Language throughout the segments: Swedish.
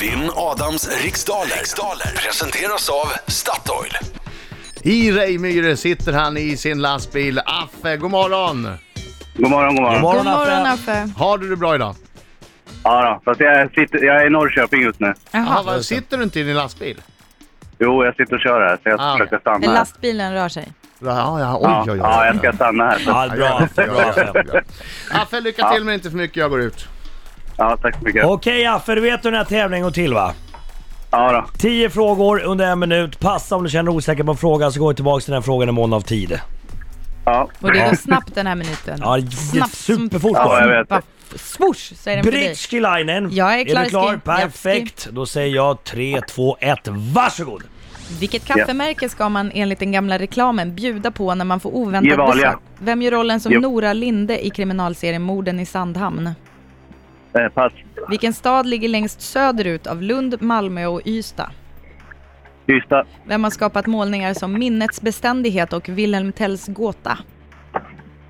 Vinn Adams riksdaler. riksdaler presenteras av Statoil. I Rejmyre sitter han i sin lastbil. Affe, god morgon! God morgon, god morgon. God morgon Affe. Har du det bra idag? Ja, då. Fast jag, sitter, jag är i Norrköping just nu. Jaha, Jaha. vad- sitter du inte i din lastbil? Jo, jag sitter och kör här, så jag Ah, försöker okej. stanna Men här. lastbilen rör sig. Ja, ja, Ja, oj, oj, oj. ja, jag ska stanna här. Så. Ja, bra. Ja, bra. ja, ja, Affe. ja. Affe, lycka till men inte för mycket. Jag går ut. Ja, tack så mycket. Okej Affe, du vet hur den här tävlingen går till va? Ja, då. 10 frågor under en minut. Passa om du känner dig osäker på en fråga så går vi tillbaka till den här frågan i mån av tid. Ja. Och det går snabbt den här minuten. Ja, Snabbt som superfort fan. Ja, jag bara. vet. Bara Swoosh säger den för dig. Britskilainen. Jag är klar, du klar? Ski. Perfekt. Då säger jag 3, 2, 1. Varsågod! Vilket kaffemärke ska man enligt den gamla reklamen bjuda på när man får oväntat Gevalia. besök? Vem gör rollen som Jo. Nora Linde i kriminalserien Morden i Sandhamn? Eh, pass. Vilken stad ligger längst söderut av Lund, Malmö och Ystad? Ystad. Vem har skapat målningar som Minnets beständighet och Wilhelm Tells gåta?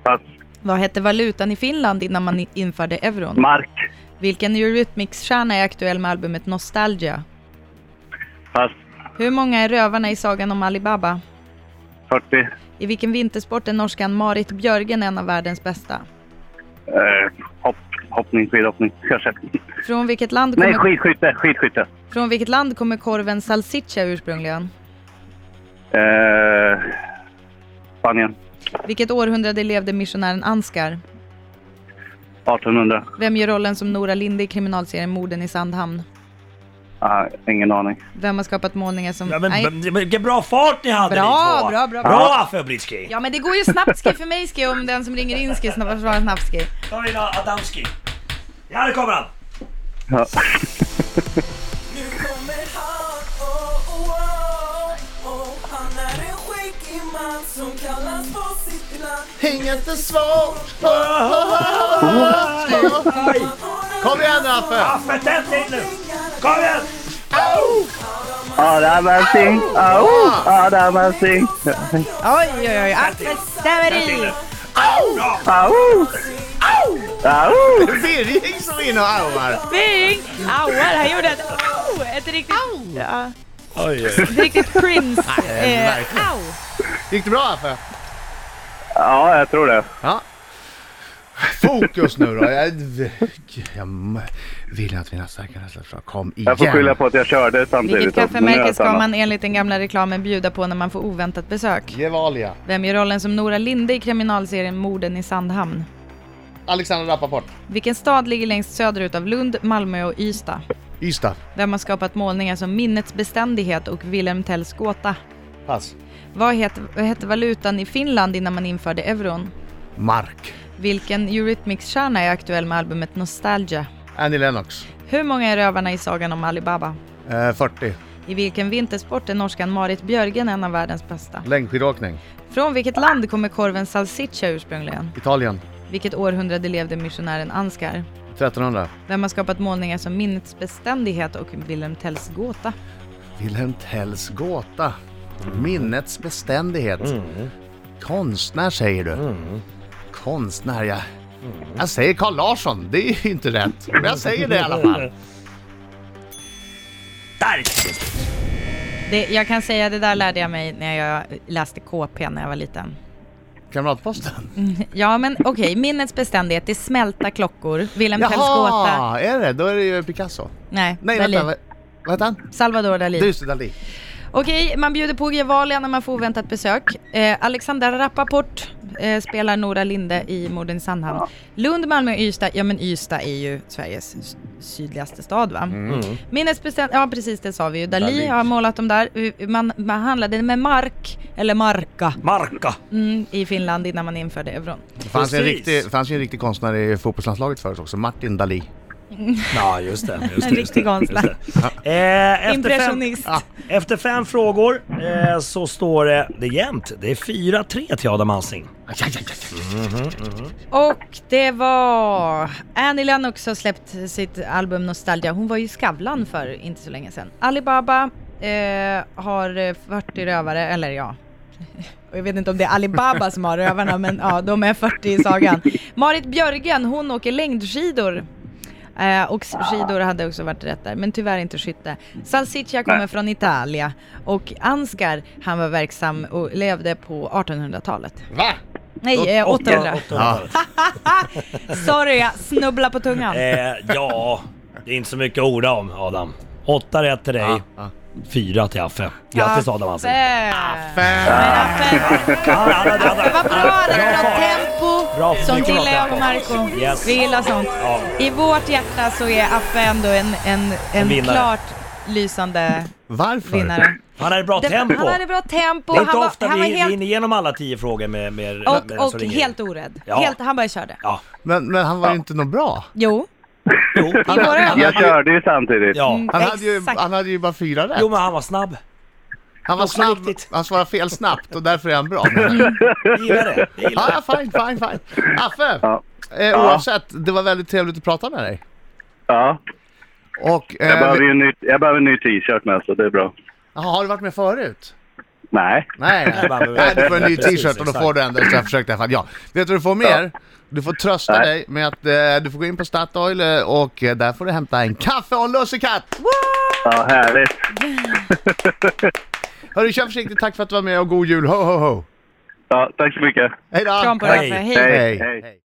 Pass. Vad hette valutan i Finland innan man i- införde euron? Mark. Vilken Eurythmics-stjärna är aktuell med albumet Nostalgia? Pass. Hur många är rövarna i sagan om Alibaba? 40. I vilken vintersport är norskan Marit Björgen en av världens bästa? Eh, hopp. Hoppning, skidhoppning, kanske. Från vilket land Nej, kommer, skidskytte. Skidskytte. från vilket land kommer korven salsiccia ursprungligen? Eh, Spanien. Vilket århundrade levde missionären Ansgar? 1800. Vem gör rollen som Nora Linde i kriminalserien Morden i Sandhamn? Ah, ingen aning. Vem har skapat målningar som... Ja, men, Nej. men, vilken bra fart ni hade Bra, ni två! bra, bra, bra. Bra Affe och Britski! Ja men det går ju snabbt ski för mig ski om den som ringer in ska snabbt svara snabbt ski. Ta in Adamski. Ja, där kommer han! Ja. Nu kommer han, oh, oh, oh, oh. Han är en skäggig man som kallas på sitt land Inget är svårt. Aj. Kom igen nu Affe! Affe, tänd till nu! Kom igen! Ah, Adamasing! Au! Adamasing! Oj oj oj, Axel Staveri! Au! Au! Birging som är inne och arvar. Bing! Auar, han gjorde ett au! Ett riktigt... Ja, Oj, oj. ett riktigt prins... Eh, verkligen. au! Gick det bra Affe? Ja, jag tror det. Ja. Fokus nu då. Jag, jag vill att mina starka nästan ska- Kom igen. Jag får skylla på att jag körde samtidigt. Vilket också, men nu är kaffemärke jag ska samma. man enligt den gamla reklamen bjuda på när man får oväntat besök? Gevalia. Vem gör rollen som Nora Linde i kriminalserien Morden i Sandhamn? Alexander Rappaport. Vilken stad ligger längst söderut av Lund, Malmö och Ystad? Ystad. Vem har skapat målningar som Minnets beständighet och Wilhelm Tells gåta? Pass. Vad hette, vad hette valutan i Finland innan man införde euron? Mark. Vilken Eurythmics-stjärna är aktuell med albumet Nostalgia? Annie Lennox. Hur många är rövarna i sagan om Alibaba? Eh, 40. I vilken vintersport är norskan Marit Björgen en av världens bästa? Längdskidåkning. Från vilket land kommer korven salsiccia ursprungligen? Italien. Vilket århundrade levde missionären Ansgar? 1300. Vem har skapat målningar som Minnets beständighet och Wilhelm Tells gåta? Wilhelm Tells gåta. Minnets beständighet. Konstnär säger du. Konstnär, jag... Jag säger Carl Larsson, det är ju inte rätt. Men jag säger det i alla fall. Där! Det, jag kan säga, det där lärde jag mig när jag läste KP när jag var liten. Kamratposten. Ja men okej, minnets beständighet, det är smälta klockor, Wilhelm Tells gåta. Jaha, är det? Då är det ju Picasso. Nej, Nej, Dalí. vänta. Vad vad heter han? Salvador Dalí. Just det, Dalí. Okej, man bjuder på Gevalia när man får oväntat besök. Eh, Alexander Rappaport eh, spelar Nora Linde i Morden i Sandhamn. Lund, Malmö, Ystad. Ja men Ystad är ju Sveriges s- sydligaste stad va? Mm. Minnesbestämt, ja precis det sa vi ju. Dalí har målat dem där. U- Man, man handlade med mark, eller marka, Marka! mm, i Finland innan man införde euron. Det fanns, ju en Precis. riktig, det fanns ju en riktig konstnär i fotbollslandslaget förut också, Martin Dalí. Ja, just det. Just En riktig konstnär. det. Eh, efter, fem, Impressionist. Ja. efter fem frågor eh, så står det, det är jämnt. Det är 4-3 till Adam Alsing. Och det var Annie Lennox som släppt sitt album Nostalgia. Hon var ju i Skavlan för inte så länge sedan. Alibaba eh, har 40 rövare, eller ja. Och Jag vet inte om det är Alibaba som har rövarna, men ja, de är 40 i sagan. Marit Björgen, hon åker längdskidor. Eh, och s- skidor hade också varit rätt där, men tyvärr inte skytte. Salsiccia kommer från Italia och Ansgar, han var verksam och levde på 1800-talet. Va? Nej, eh, 800. Ja. Sorry, jag snubblar på tungan. Eh, ja, det är inte så mycket att orda om Adam. Åtta rätt till dig, Ja, ja. fyra till Affe. Grattis Adam Alsing. Ah, Fan. Affe. Men Affe, Ja, ja, ja, Det var ja. bra, det var bra fart. tempo. Bra. Sånt Mycket gillar bra jag tempo. och Marco. Yes. Vi gillar sånt. Ja. I vårt hjärta så är Affe ändå en, en, en, vinnare. klart lysande Varför? vinnare. Han hade bra Det- tempo. Han hade bra tempo. det är inte Han var, ofta han var vi helt... helt... hinner igenom alla tio frågor med... med med- Och, som och ringer. helt orädd. Ja. Helt, han bara körde. Ja, Men, men han var ju inte någon bra. Jo. jo. I våra ögon. Jag körde ju samtidigt. Ja. Mm, Han hade, ju, exakt. han hade ju bara fyra rätt. Jo men han var snabb. han var också snabb, riktigt. han svarade fel snabbt och därför är han bra. Jag gillar det. Jag gillar Ja, det. ja, fine, fine, fine. Affe, Ja. eh, oavsett, det var väldigt trevligt att prata med dig. Ja. Och, Jag eh, behöver vi, ju en ny, jag behöver en ny t-shirt med så det är bra. Jaha, har du varit med förut? Nej. Nej, Nej, nej. men- nej du får en ny Precis, t-shirt och då exakt. får du ändå så jag försökte i alla fall. Ja. Vet du vad du får mer? Du får trösta Nej. dig med att eh, du får gå in på Statoil eh, och eh, där får du hämta en kaffe och en lussekatt! Ja, härligt. Hörru, kör försiktigt, tack för att du var med och god jul! Ho, ho, ho! Ja, tack så mycket. Hej då! Kram på dig Hej. Affe. Hej. Hej. Hej.